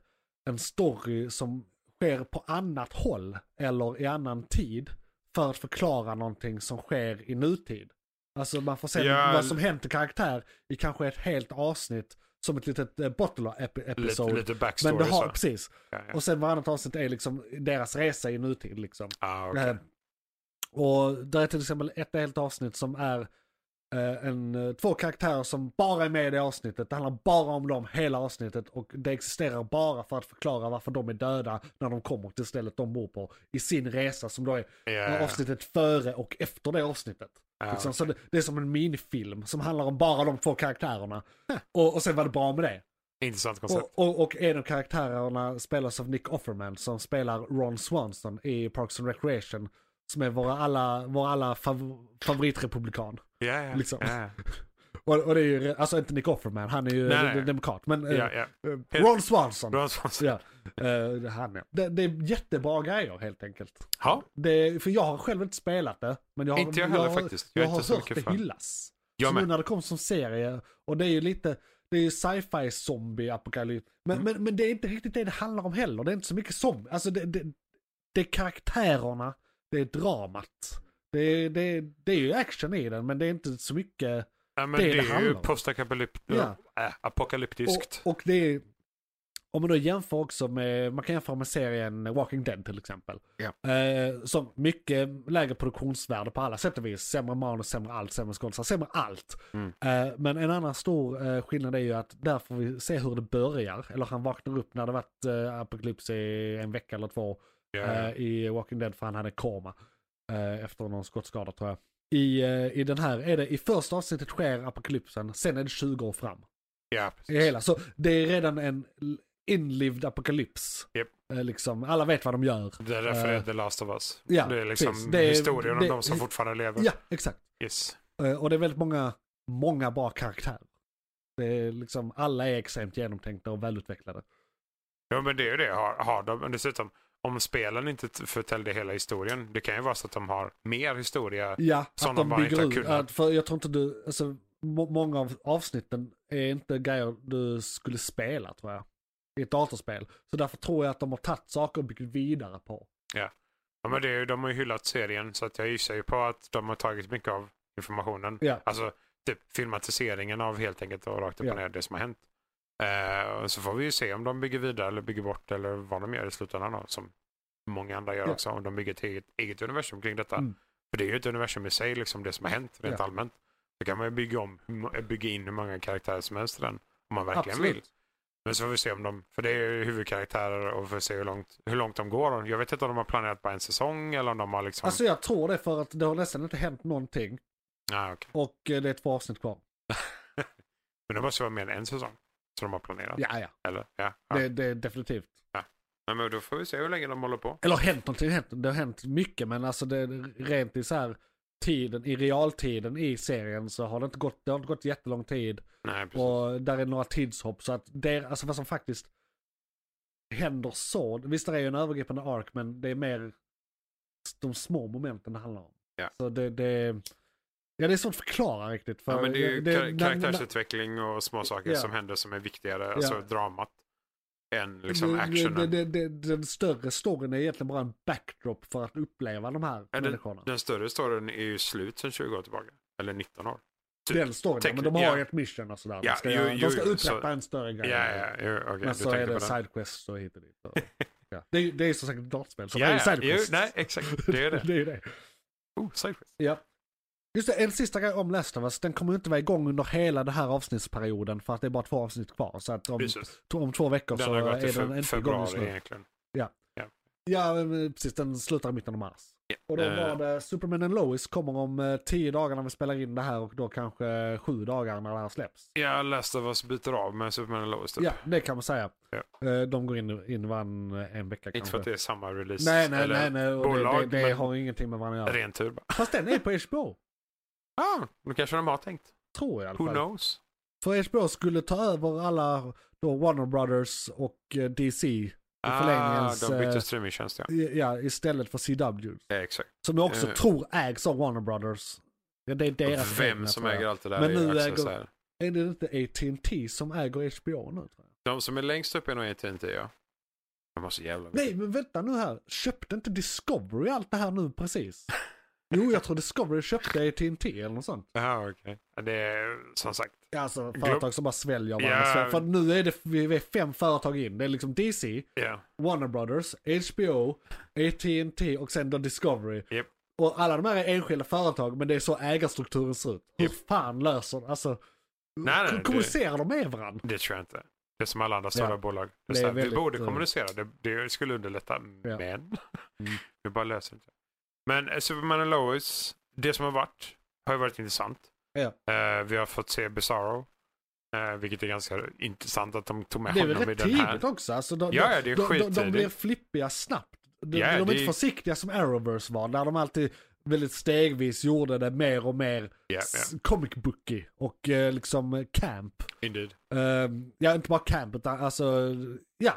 [SPEAKER 1] en story som sker på annat håll eller i annan tid för att förklara någonting som sker i nutid. Alltså man får se
[SPEAKER 4] Ja,
[SPEAKER 1] vad som hänt i karaktär i kanske ett helt avsnitt som ett litet eh, bottle ep-
[SPEAKER 4] lite,
[SPEAKER 1] episode.
[SPEAKER 4] lite backstory
[SPEAKER 1] Men det har,
[SPEAKER 4] så.
[SPEAKER 1] precis.
[SPEAKER 4] Ja, ja.
[SPEAKER 1] Och sen varannat avsnitt är liksom deras resa i nutid liksom.
[SPEAKER 4] Ah, okej.
[SPEAKER 1] Eh, Och där är till exempel ett helt avsnitt som är eh, en, eh, två karaktärer som bara är med i det avsnittet. Det handlar bara om dem hela avsnittet och det existerar bara för att förklara varför de är döda när de kommer till stället de bor på i sin resa som då är
[SPEAKER 4] Ja, ja, ja.
[SPEAKER 1] avsnittet före och efter det avsnittet.
[SPEAKER 4] Eh. Ja,
[SPEAKER 1] liksom.
[SPEAKER 4] okej.
[SPEAKER 1] Så det, det är som en minifilm som handlar om bara de två karaktärerna. Och, och sen var det bra med det.
[SPEAKER 4] Intressant koncept.
[SPEAKER 1] Och, och, och en av karaktärerna spelas av Nick Offerman som spelar Ron Swanson i Parks and Recreation. Som är våra alla, vår alla fav, favoritrepublikan.
[SPEAKER 4] Ja, ja,
[SPEAKER 1] liksom.
[SPEAKER 4] ja, ja.
[SPEAKER 1] Och, och det är ju, re- alltså inte Nick Offerman, han är ju
[SPEAKER 4] Nej,
[SPEAKER 1] eh,
[SPEAKER 4] nej.
[SPEAKER 1] demokrat. Men eh,
[SPEAKER 4] Ja, ja.
[SPEAKER 1] eh, Ron Swanson.
[SPEAKER 4] Bra svar.
[SPEAKER 1] Ja, eh, han är. Det, det är jättebra grejer helt enkelt.
[SPEAKER 4] Ja,
[SPEAKER 1] Det, för jag har själv inte spelat det. Men jag har,
[SPEAKER 4] Inte jag heller
[SPEAKER 1] har-
[SPEAKER 4] faktiskt.
[SPEAKER 1] Jag,
[SPEAKER 4] Jag är
[SPEAKER 1] har
[SPEAKER 4] inte så
[SPEAKER 1] hört
[SPEAKER 4] mycket
[SPEAKER 1] det
[SPEAKER 4] fan.
[SPEAKER 1] hyllas.
[SPEAKER 4] jag
[SPEAKER 1] så nu
[SPEAKER 4] med.
[SPEAKER 1] när det kom som serie, och det är ju lite, det är ju sci-fi zombie apokalyps. Men,
[SPEAKER 4] Mm.
[SPEAKER 1] men, men det är inte riktigt det det handlar om heller. Det är inte så mycket zombie. Alltså det, det, det är karaktärerna, det är dramat. Det, är- det, är- det är ju action i den, men det är inte så mycket.
[SPEAKER 4] Ja, men
[SPEAKER 1] det
[SPEAKER 4] det,
[SPEAKER 1] det
[SPEAKER 4] är ju
[SPEAKER 1] handlar om.
[SPEAKER 4] postapokalyptiskt.
[SPEAKER 1] Ja.
[SPEAKER 4] Äh, apokalyptiskt.
[SPEAKER 1] Och, och det är, om man då jämför också med, man kan jämföra med serien Walking Dead till exempel.
[SPEAKER 4] Ja.
[SPEAKER 1] Eh, som mycket lägre produktionsvärde på alla sätt och vis. Sämre manus, sämre allt, sämre skådisar, sämre allt.
[SPEAKER 4] Mm.
[SPEAKER 1] Eh, men en annan stor eh, skillnad är ju att där får vi se hur det börjar. Eller han vaknar upp när det varit eh, apokalyps i en vecka eller två
[SPEAKER 4] Ja,
[SPEAKER 1] eh,
[SPEAKER 4] ja.
[SPEAKER 1] i Walking Dead för han hade koma eh, efter någon skottskada tror jag. I, eh, I den här är det, i första avsnittet sker apokalypsen, sen är det 20 år fram.
[SPEAKER 4] ja,
[SPEAKER 1] I
[SPEAKER 4] precis.
[SPEAKER 1] hela. Så det är redan en l- inlivd apokalyps.
[SPEAKER 4] Japp.
[SPEAKER 1] Eh, Liksom, alla vet vad de gör.
[SPEAKER 4] Det är därför det är
[SPEAKER 1] Eh,
[SPEAKER 4] The Last of Us.
[SPEAKER 1] ja,
[SPEAKER 4] det är liksom
[SPEAKER 1] precis. Det är-
[SPEAKER 4] historien om
[SPEAKER 1] det-
[SPEAKER 4] de som fortfarande lever.
[SPEAKER 1] Ja, exakt.
[SPEAKER 4] Yes.
[SPEAKER 1] Eh, Och det är väldigt många, många bra karaktärer. Det är liksom, alla är extremt genomtänkta och välutvecklade.
[SPEAKER 4] Ja, men det är ju det. Har, har de. Men dessutom, om spelen inte t- förtällde hela historien, det kan ju vara så att de har mer historia.
[SPEAKER 1] Ja,
[SPEAKER 4] Som
[SPEAKER 1] att
[SPEAKER 4] de
[SPEAKER 1] de
[SPEAKER 4] bara inte
[SPEAKER 1] bygger
[SPEAKER 4] har
[SPEAKER 1] ut.
[SPEAKER 4] kunnat.
[SPEAKER 1] att- För jag tror inte du, alltså, må, många av avsnitten är inte grejer du skulle spela tror jag. I ett datorspel. Så därför tror jag att de har tagit saker och byggt vidare på.
[SPEAKER 4] Ja, men det är ju, de har ju hyllat serien, så att jag gissar ju på att de har tagit mycket av informationen.
[SPEAKER 1] Ja.
[SPEAKER 4] Alltså, typ filmatiseringen av helt enkelt och rakt upp
[SPEAKER 1] Ja.
[SPEAKER 4] och ner det som har hänt. Eh, och så får vi ju se om de bygger vidare eller bygger bort eller vad de gör i slutändan då, som många andra gör
[SPEAKER 1] Ja.
[SPEAKER 4] också. Om de bygger ett eget, eget universum kring detta.
[SPEAKER 1] Mm.
[SPEAKER 4] För det är ju ett universum i sig, liksom det som har hänt rent
[SPEAKER 1] Ja.
[SPEAKER 4] allmänt. Då kan man ju bygga, om, bygga in hur många karaktärer som helst i den, om man verkligen vill. Men så får vi se om de, för det är ju huvudkaraktärer och vi får se hur långt, hur långt de går. Jag vet inte om de har planerat bara en säsong eller om de har liksom...
[SPEAKER 1] Alltså jag tror det för att det har nästan inte hänt någonting.
[SPEAKER 4] Ah, okej.
[SPEAKER 1] Och eh, det är två avsnitt kvar.
[SPEAKER 4] Men det måste vara mer än en säsong som de har planerat.
[SPEAKER 1] Ja, ja.
[SPEAKER 4] Eller? Ja. ja.
[SPEAKER 1] Det, det är definitivt.
[SPEAKER 4] Nej, men då får vi se hur länge de håller på.
[SPEAKER 1] Eller hänt någonting, hänt, det har hänt mycket men alltså det, rent i så här tiden, i realtiden i serien så har det inte gått, det har inte gått jättelång tid.
[SPEAKER 4] Nej, precis.
[SPEAKER 1] Och där är några tidshopp så att det, alltså vad som faktiskt händer så, visst det är ju en övergripande ark men det är mer de små momenten det handlar om.
[SPEAKER 4] Ja.
[SPEAKER 1] Så det, det, ja det är svårt att förklara riktigt. För
[SPEAKER 4] ja, men det är ju kar-
[SPEAKER 1] när-
[SPEAKER 4] karaktärsutveckling och små saker
[SPEAKER 1] Ja.
[SPEAKER 4] som händer som är viktigare, alltså
[SPEAKER 1] Ja.
[SPEAKER 4] dramat, än liksom
[SPEAKER 1] Det- det-
[SPEAKER 4] actionen.
[SPEAKER 1] eh, Det, det, det, den större storyn är egentligen bara en backdrop för att uppleva de här
[SPEAKER 4] Ja, den,
[SPEAKER 1] människorna.
[SPEAKER 4] den större storyn är ju slut sedan 20 år tillbaka, eller 19 år. typ,
[SPEAKER 1] den storyn, ja, men de
[SPEAKER 4] teknik-
[SPEAKER 1] har
[SPEAKER 4] ja.
[SPEAKER 1] ju ett mission och sådär.
[SPEAKER 4] Ja,
[SPEAKER 1] de ska,
[SPEAKER 4] jo,
[SPEAKER 1] göra-
[SPEAKER 4] jo,
[SPEAKER 1] de ska
[SPEAKER 4] jo,
[SPEAKER 1] upprätta
[SPEAKER 4] så-
[SPEAKER 1] en större
[SPEAKER 4] Ja,
[SPEAKER 1] grej.
[SPEAKER 4] ja, ja. Okej,
[SPEAKER 1] Men
[SPEAKER 4] du
[SPEAKER 1] så
[SPEAKER 4] tänkte
[SPEAKER 1] är det
[SPEAKER 4] på den.
[SPEAKER 1] sidequests och hit och dit.
[SPEAKER 4] <laughs>
[SPEAKER 1] Och, ja. det, är ju- det är ju som sagt ett dartspel, så
[SPEAKER 4] Ja,
[SPEAKER 1] det är
[SPEAKER 4] ja. Jo,
[SPEAKER 1] sidequests. <laughs>
[SPEAKER 4] nej, exakt. Det är det.
[SPEAKER 1] det är ju det.
[SPEAKER 4] Oh, sidequest.
[SPEAKER 1] Ja. Just det, en sista grej om Last of Us. Den kommer ju inte vara igång under hela den här avsnittsperioden för att det är bara två avsnitt kvar. Så att om,
[SPEAKER 4] Precis.
[SPEAKER 1] to- om två veckor
[SPEAKER 4] Den
[SPEAKER 1] så
[SPEAKER 4] har
[SPEAKER 1] är
[SPEAKER 4] gått i
[SPEAKER 1] den
[SPEAKER 4] fe-
[SPEAKER 1] inte igång just
[SPEAKER 4] februari
[SPEAKER 1] nu.
[SPEAKER 4] egentligen.
[SPEAKER 1] Ja, men precis. Den slutar i mitten av mars. Och då var
[SPEAKER 4] Eh,
[SPEAKER 1] det Superman and Lois kommer om eh, tio dagar när vi spelar in det här och då kanske sju dagar när det här släpps.
[SPEAKER 4] Ja, Last of Us byter av med Superman and Lois typ.
[SPEAKER 1] Ja, det kan man säga.
[SPEAKER 4] Ja.
[SPEAKER 1] Eh, De går in, in varann en vecka
[SPEAKER 4] Inte för
[SPEAKER 1] kanske.
[SPEAKER 4] att det är samma release.
[SPEAKER 1] Nej, nej,
[SPEAKER 4] eller
[SPEAKER 1] nej. nej. och
[SPEAKER 4] bolag,
[SPEAKER 1] det det, det
[SPEAKER 4] men-
[SPEAKER 1] har ingenting med varandra att göra.
[SPEAKER 4] Ren tur bara.
[SPEAKER 1] Fast den är på HBO.
[SPEAKER 4] Ah, då kanske de har tänkt.
[SPEAKER 1] Tror jag i alla
[SPEAKER 4] Who
[SPEAKER 1] fall.
[SPEAKER 4] knows?
[SPEAKER 1] För HBO skulle ta över alla då Warner Brothers och eh, DC.
[SPEAKER 4] Ah,
[SPEAKER 1] förlängningens,
[SPEAKER 4] de bytte
[SPEAKER 1] eh,
[SPEAKER 4] streamingtjänst ja.
[SPEAKER 1] i- Ja, istället för CW.
[SPEAKER 4] ja exakt.
[SPEAKER 1] Som jag också
[SPEAKER 4] Eh.
[SPEAKER 1] tror ägs av Warner Brothers. Ja, det är deras
[SPEAKER 4] Vem
[SPEAKER 1] egna,
[SPEAKER 4] som
[SPEAKER 1] tror jag.
[SPEAKER 4] äger allt det där
[SPEAKER 1] Men
[SPEAKER 4] är
[SPEAKER 1] nu
[SPEAKER 4] ju
[SPEAKER 1] äger-
[SPEAKER 4] Access här.
[SPEAKER 1] Är det inte AT&T som äger HBO nu? Tror jag?
[SPEAKER 4] De som är längst upp är nog AT&T ja. De har så jävla mycket.
[SPEAKER 1] Nej, men vänta nu här. Köpte inte Discovery allt det här nu precis? <laughs> Jo, jag tror Discovery köpte AT&T eller något sånt.
[SPEAKER 4] Jaha, okej. Ja, Det är som sagt.
[SPEAKER 1] Ja, Alltså företag som bara sväljer
[SPEAKER 4] Ja.
[SPEAKER 1] varandra. För nu är det vi är fem företag in. Det är liksom DC,
[SPEAKER 4] Ja.
[SPEAKER 1] Warner Brothers, HBO, AT&T och sen då Discovery.
[SPEAKER 4] Japp.
[SPEAKER 1] Och alla de här är enskilda företag men det är så ägarstrukturen ser ut. Hur fan löser alltså,
[SPEAKER 4] Nej, nej,
[SPEAKER 1] hur kommunicerar de med varandra?
[SPEAKER 4] Det tror jag inte. Det är som alla andra stora
[SPEAKER 1] Ja.
[SPEAKER 4] bolag. Det
[SPEAKER 1] Det
[SPEAKER 4] är
[SPEAKER 1] är
[SPEAKER 4] så här, vi
[SPEAKER 1] väldigt,
[SPEAKER 4] borde
[SPEAKER 1] eh,
[SPEAKER 4] kommunicera. Det, det skulle underlätta. Men
[SPEAKER 1] Mm.
[SPEAKER 4] vi bara löser <laughs> det inte. Men eh, Superman and Lois, det som har varit, har ju varit intressant.
[SPEAKER 1] Ja.
[SPEAKER 4] Eh, vi har fått se Bizarro. eh, vilket är ganska intressant att de tog med
[SPEAKER 1] Det är väl
[SPEAKER 4] honom i
[SPEAKER 1] rätt
[SPEAKER 4] den här.
[SPEAKER 1] tidigt också. Alltså, de,
[SPEAKER 4] Ja, ja, det är
[SPEAKER 1] de, de, de
[SPEAKER 4] skittidigt.
[SPEAKER 1] blir flippiga snabbt. De,
[SPEAKER 4] Ja,
[SPEAKER 1] de är
[SPEAKER 4] det
[SPEAKER 1] inte
[SPEAKER 4] är-
[SPEAKER 1] försiktiga som Arrowverse var, där de alltid väldigt stegvis gjorde det mer och mer
[SPEAKER 4] Ja,
[SPEAKER 1] s- comic booky och eh, liksom eh, camp.
[SPEAKER 4] ja. Indeed.
[SPEAKER 1] Ehm, ja, inte bara camp, utan alltså, ja.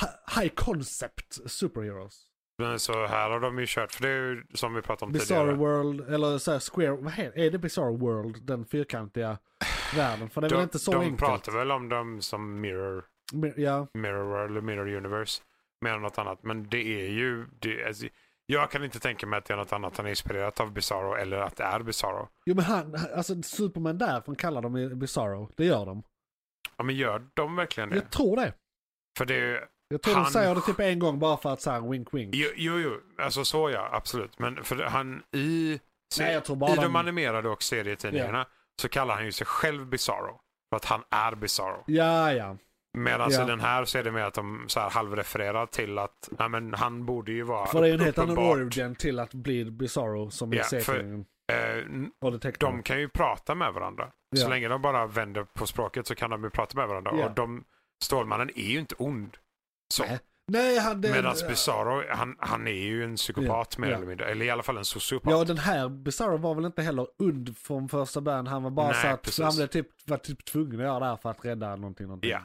[SPEAKER 1] Hi- High concept superheroes.
[SPEAKER 4] Men så här har de ju kört, för det är ju som vi pratade om
[SPEAKER 1] Bizarre
[SPEAKER 4] tidigare.
[SPEAKER 1] World, eller så här Square, vad heter, är det Bizarre World, den
[SPEAKER 4] <sighs>
[SPEAKER 1] fyrkantiga världen? För det är väl
[SPEAKER 4] de
[SPEAKER 1] inte så
[SPEAKER 4] de
[SPEAKER 1] enkelt?
[SPEAKER 4] pratar väl om dem som mirror,
[SPEAKER 1] Men- Ja,
[SPEAKER 4] mirror world eller mirror universe. Mer än något annat. Men det är ju... Det, alltså, jag kan inte tänka mig att det är något annat han är inspirerat av Bizarro eller att det är Bizarro.
[SPEAKER 1] jo men han, alltså Superman därifrån kallar de ju Bizarro, det gör de.
[SPEAKER 4] Ja men gör de verkligen det?
[SPEAKER 1] Jag tror det.
[SPEAKER 4] För det är ju...
[SPEAKER 1] Jag tror de
[SPEAKER 4] Han-
[SPEAKER 1] säger det typ en gång bara för att så här wink wink.
[SPEAKER 4] Jo, jo, jo. alltså så ja, absolut. Men för han i...
[SPEAKER 1] Nej, jag tror bara
[SPEAKER 4] I de
[SPEAKER 1] de-
[SPEAKER 4] animerade och serietidningarna så kallar han ju sig själv Bizarro. För att han är Bizarro.
[SPEAKER 1] Ja, ja.
[SPEAKER 4] Medan
[SPEAKER 1] Ja.
[SPEAKER 4] i den här så är det mer att de så här halvrefererar till att ja, men han borde ju vara
[SPEAKER 1] För det är en helt annan
[SPEAKER 4] uppenbart-
[SPEAKER 1] origin till att bli Bizarro som i
[SPEAKER 4] Ja, för-
[SPEAKER 1] serien.
[SPEAKER 4] Eh, n-
[SPEAKER 1] Och det tecknar.
[SPEAKER 4] de kan ju prata med varandra.
[SPEAKER 1] Ja.
[SPEAKER 4] Så länge de bara vänder på språket så kan de ju prata med varandra.
[SPEAKER 1] Ja.
[SPEAKER 4] Och de, Stålmannen är ju inte ond. Så.
[SPEAKER 1] Nej. Äh? Nej, han... det-
[SPEAKER 4] Medan Bizarro, han, han är ju en psykopat
[SPEAKER 1] Ja,
[SPEAKER 4] mer
[SPEAKER 1] ja.
[SPEAKER 4] eller mindre. Eller i alla fall en sociopat.
[SPEAKER 1] Ja, och den här Bizarro var väl inte heller und från första början. Han var bara
[SPEAKER 4] Nej,
[SPEAKER 1] så att
[SPEAKER 4] precis.
[SPEAKER 1] han blev typ, var typ tvungen att göra det här för att rädda någonting. någonting.
[SPEAKER 4] Ja.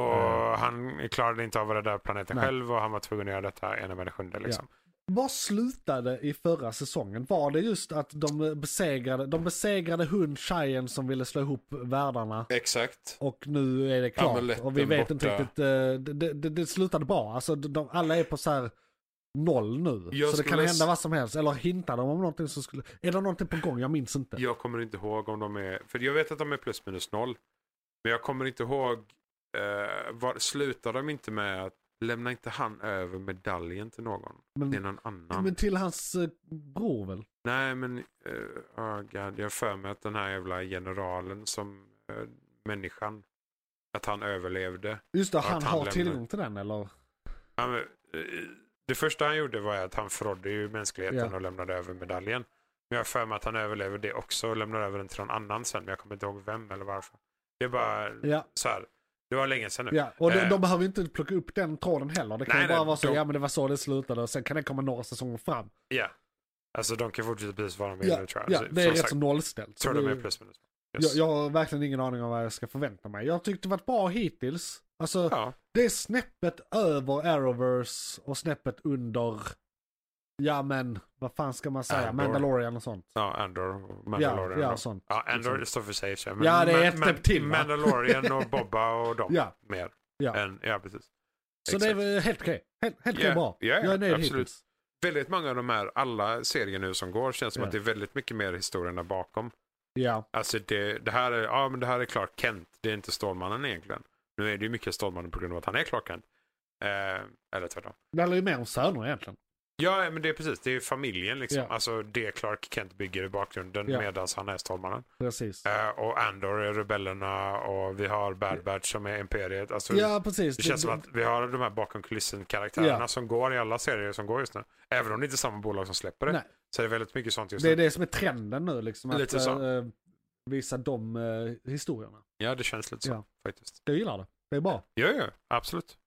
[SPEAKER 4] Och han klarade inte av att rädda planeten
[SPEAKER 1] Mm. Eh. Nej.
[SPEAKER 4] själv och han var tvungen att göra detta ena med det sjunde. Liksom.
[SPEAKER 1] Vad slutade i förra säsongen? Var det just att de besegrade, de besegrade hund Cheyenne som ville slå ihop världarna?
[SPEAKER 4] Exakt.
[SPEAKER 1] Och nu är det klart.
[SPEAKER 4] Amuletten
[SPEAKER 1] och vi vet inte
[SPEAKER 4] borta.
[SPEAKER 1] riktigt. eh, Det, det, det slutade bra. Alltså de- de, alla är på så här noll nu.
[SPEAKER 4] Jag
[SPEAKER 1] så det kan
[SPEAKER 4] skulle s-
[SPEAKER 1] hända vad som helst. Eller hintar de om någonting som skulle... Är det någonting på gång? Jag minns inte.
[SPEAKER 4] Jag kommer inte ihåg om de är, för jag vet att de är plus minus noll. Men jag kommer inte ihåg, eh, var, slutar de inte med att lämna inte han över medaljen till någon? Till
[SPEAKER 1] men,
[SPEAKER 4] någon annan?
[SPEAKER 1] men till hans eh, bror väl?
[SPEAKER 4] Nej men, eh, oh God, jag har för mig att den här jävla generalen som eh, människan, att han överlevde.
[SPEAKER 1] Just det,
[SPEAKER 4] Att
[SPEAKER 1] han
[SPEAKER 4] han
[SPEAKER 1] har
[SPEAKER 4] lämnar.
[SPEAKER 1] tillgång till den eller?
[SPEAKER 4] Han, eh, det första han gjorde var att han förrådde ju mänskligheten
[SPEAKER 1] Ja.
[SPEAKER 4] och lämnade över medaljen. Men jag har för mig att han överlever det också och lämnar över den till någon annan sen. Men jag kommer inte ihåg vem eller varför. Det är bara
[SPEAKER 1] Ja.
[SPEAKER 4] så här. Det var länge sedan nu.
[SPEAKER 1] ja. Och de,
[SPEAKER 4] Eh.
[SPEAKER 1] de behöver ju inte plocka upp den tråden heller. Det kan
[SPEAKER 4] Nej,
[SPEAKER 1] ju bara
[SPEAKER 4] nej,
[SPEAKER 1] vara så,
[SPEAKER 4] de-
[SPEAKER 1] ja men det var så det slutade och sen kan det komma några säsonger fram.
[SPEAKER 4] Ja. Alltså de kan fortsätta precis vad de vill
[SPEAKER 1] Ja,
[SPEAKER 4] nu tror jag.
[SPEAKER 1] ja
[SPEAKER 4] Alltså,
[SPEAKER 1] det är
[SPEAKER 4] som
[SPEAKER 1] rätt
[SPEAKER 4] sagt,
[SPEAKER 1] så nollställt.
[SPEAKER 4] tror
[SPEAKER 1] Så
[SPEAKER 4] de
[SPEAKER 1] det-
[SPEAKER 4] är plus minus.
[SPEAKER 1] jag,
[SPEAKER 4] Yes.
[SPEAKER 1] jag har verkligen ingen aning om vad jag ska förvänta mig. Jag tyckte det varit bra hittills. Alltså,
[SPEAKER 4] Ja.
[SPEAKER 1] Det är snäppet över Arrowverse och snäppet under, ja men vad fan ska man säga,
[SPEAKER 4] Andor.
[SPEAKER 1] Mandalorian och sånt.
[SPEAKER 4] ja, Andor och
[SPEAKER 1] Ja,
[SPEAKER 4] Mandalorian.
[SPEAKER 1] ja,
[SPEAKER 4] och-
[SPEAKER 1] sånt.
[SPEAKER 4] ja Andor
[SPEAKER 1] Liksom.
[SPEAKER 4] står för sig i och för sig,
[SPEAKER 1] Ja, det är ett snäpp till, va?
[SPEAKER 4] Mandalorian och
[SPEAKER 1] <laughs>
[SPEAKER 4] Bobba och dem.
[SPEAKER 1] Ja.
[SPEAKER 4] Mer.
[SPEAKER 1] Ja.
[SPEAKER 4] Än, ja, precis.
[SPEAKER 1] Så det är väl helt okej. Helt, helt okej
[SPEAKER 4] Ja,
[SPEAKER 1] bra.
[SPEAKER 4] ja, ja,
[SPEAKER 1] jag är nöjd
[SPEAKER 4] absolut.
[SPEAKER 1] hittills.
[SPEAKER 4] väldigt många av de här, alla serier nu som går, känns som
[SPEAKER 1] Ja.
[SPEAKER 4] att det är väldigt mycket mer historierna bakom.
[SPEAKER 1] Ja,
[SPEAKER 4] Alltså det, det här är, ja men det här är Clark Kent, det är inte Stålmannen egentligen. Nu är det ju mycket Stålmannen på grund av att han är Clark Kent. Eh, eller tvärtom.
[SPEAKER 1] det handlar ju mer om söner egentligen.
[SPEAKER 4] Ja, men det är precis. Det är ju familjen liksom.
[SPEAKER 1] Ja.
[SPEAKER 4] Alltså det Clark Kent bygger i bakgrunden
[SPEAKER 1] Ja.
[SPEAKER 4] medan han är Stålmannen.
[SPEAKER 1] Precis.
[SPEAKER 4] Eh, och Andor är rebellerna och vi har Bad Batch som är Imperiet. Alltså,
[SPEAKER 1] Ja, precis.
[SPEAKER 4] Det känns som att vi har de här bakom kulissen-karaktärerna
[SPEAKER 1] Ja.
[SPEAKER 4] som går i alla serier som går just nu. Även om det inte är samma bolag som släpper det.
[SPEAKER 1] Nej.
[SPEAKER 4] Så är det väldigt mycket sånt just
[SPEAKER 1] Det är
[SPEAKER 4] nu.
[SPEAKER 1] det som är trenden nu liksom. Att
[SPEAKER 4] Lite så.
[SPEAKER 1] eh, visa de eh, historierna.
[SPEAKER 4] Ja, det känns lite så
[SPEAKER 1] Ja.
[SPEAKER 4] faktiskt.
[SPEAKER 1] Jag gillar det. Det är bra.
[SPEAKER 4] Ja, ja, absolut.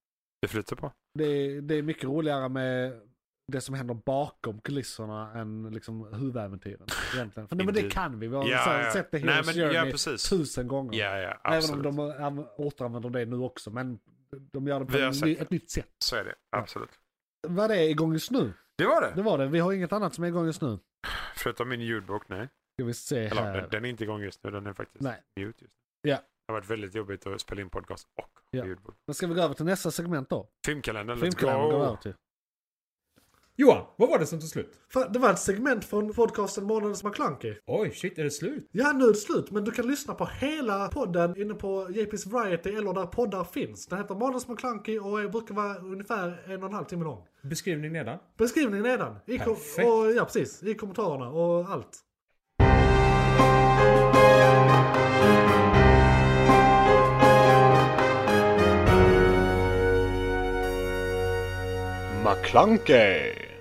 [SPEAKER 4] Det flyter på.
[SPEAKER 1] Det är, det är mycket roligare med det som händer bakom kulisserna än liksom huvudäventyren. Egentligen.
[SPEAKER 4] <laughs>
[SPEAKER 1] För nej, men det
[SPEAKER 4] Indeed.
[SPEAKER 1] kan vi. Vi har
[SPEAKER 4] Ja,
[SPEAKER 1] så här
[SPEAKER 4] ja.
[SPEAKER 1] sett det
[SPEAKER 4] Nej,
[SPEAKER 1] Heroes
[SPEAKER 4] men- ja,
[SPEAKER 1] Journey
[SPEAKER 4] precis.
[SPEAKER 1] tusen gånger.
[SPEAKER 4] Ja, ja,
[SPEAKER 1] Även om
[SPEAKER 4] absolut.
[SPEAKER 1] de äm, återanvänder det nu också. Men de gör det på
[SPEAKER 4] Vi har
[SPEAKER 1] en,
[SPEAKER 4] sett
[SPEAKER 1] ny-
[SPEAKER 4] det.
[SPEAKER 1] ett nytt sätt.
[SPEAKER 4] Så är det. Absolut.
[SPEAKER 1] Vad det är igång just nu.
[SPEAKER 4] Det var det.
[SPEAKER 1] Det var det. Vi har inget annat som är igång just nu.
[SPEAKER 4] Förutom min ljudbok, nej.
[SPEAKER 1] Ska vi se
[SPEAKER 4] Eller, den,
[SPEAKER 1] här.
[SPEAKER 4] den är inte igång just nu. Den är faktiskt
[SPEAKER 1] Nej.
[SPEAKER 4] mute just nu.
[SPEAKER 1] Ja.
[SPEAKER 4] Det har varit väldigt jobbigt att spela in podcast och
[SPEAKER 1] Ja.
[SPEAKER 4] ljudbok.
[SPEAKER 1] Men ska vi gå över till nästa segment då?
[SPEAKER 4] Filmkalendern,
[SPEAKER 1] Filmkalendern går vi
[SPEAKER 4] let's
[SPEAKER 1] över
[SPEAKER 4] go!
[SPEAKER 1] till.
[SPEAKER 2] Johan, vad var det som tog slut?
[SPEAKER 1] Fan, Det var ett segment från podcasten Månadens McKlunky.
[SPEAKER 2] Oj, shit, är det slut?
[SPEAKER 1] Ja, nu är det slut, men du kan lyssna på hela podden inne på JP's Variety eller där poddar finns. Den heter Månadens McKlunky och är- brukar vara ungefär en och en halv timme lång.
[SPEAKER 2] Beskrivning nedan.
[SPEAKER 1] Beskrivningen nedan. I kom-
[SPEAKER 2] Perfekt.
[SPEAKER 1] och, ja, precis. I kommentarerna och allt.
[SPEAKER 3] McClunkey!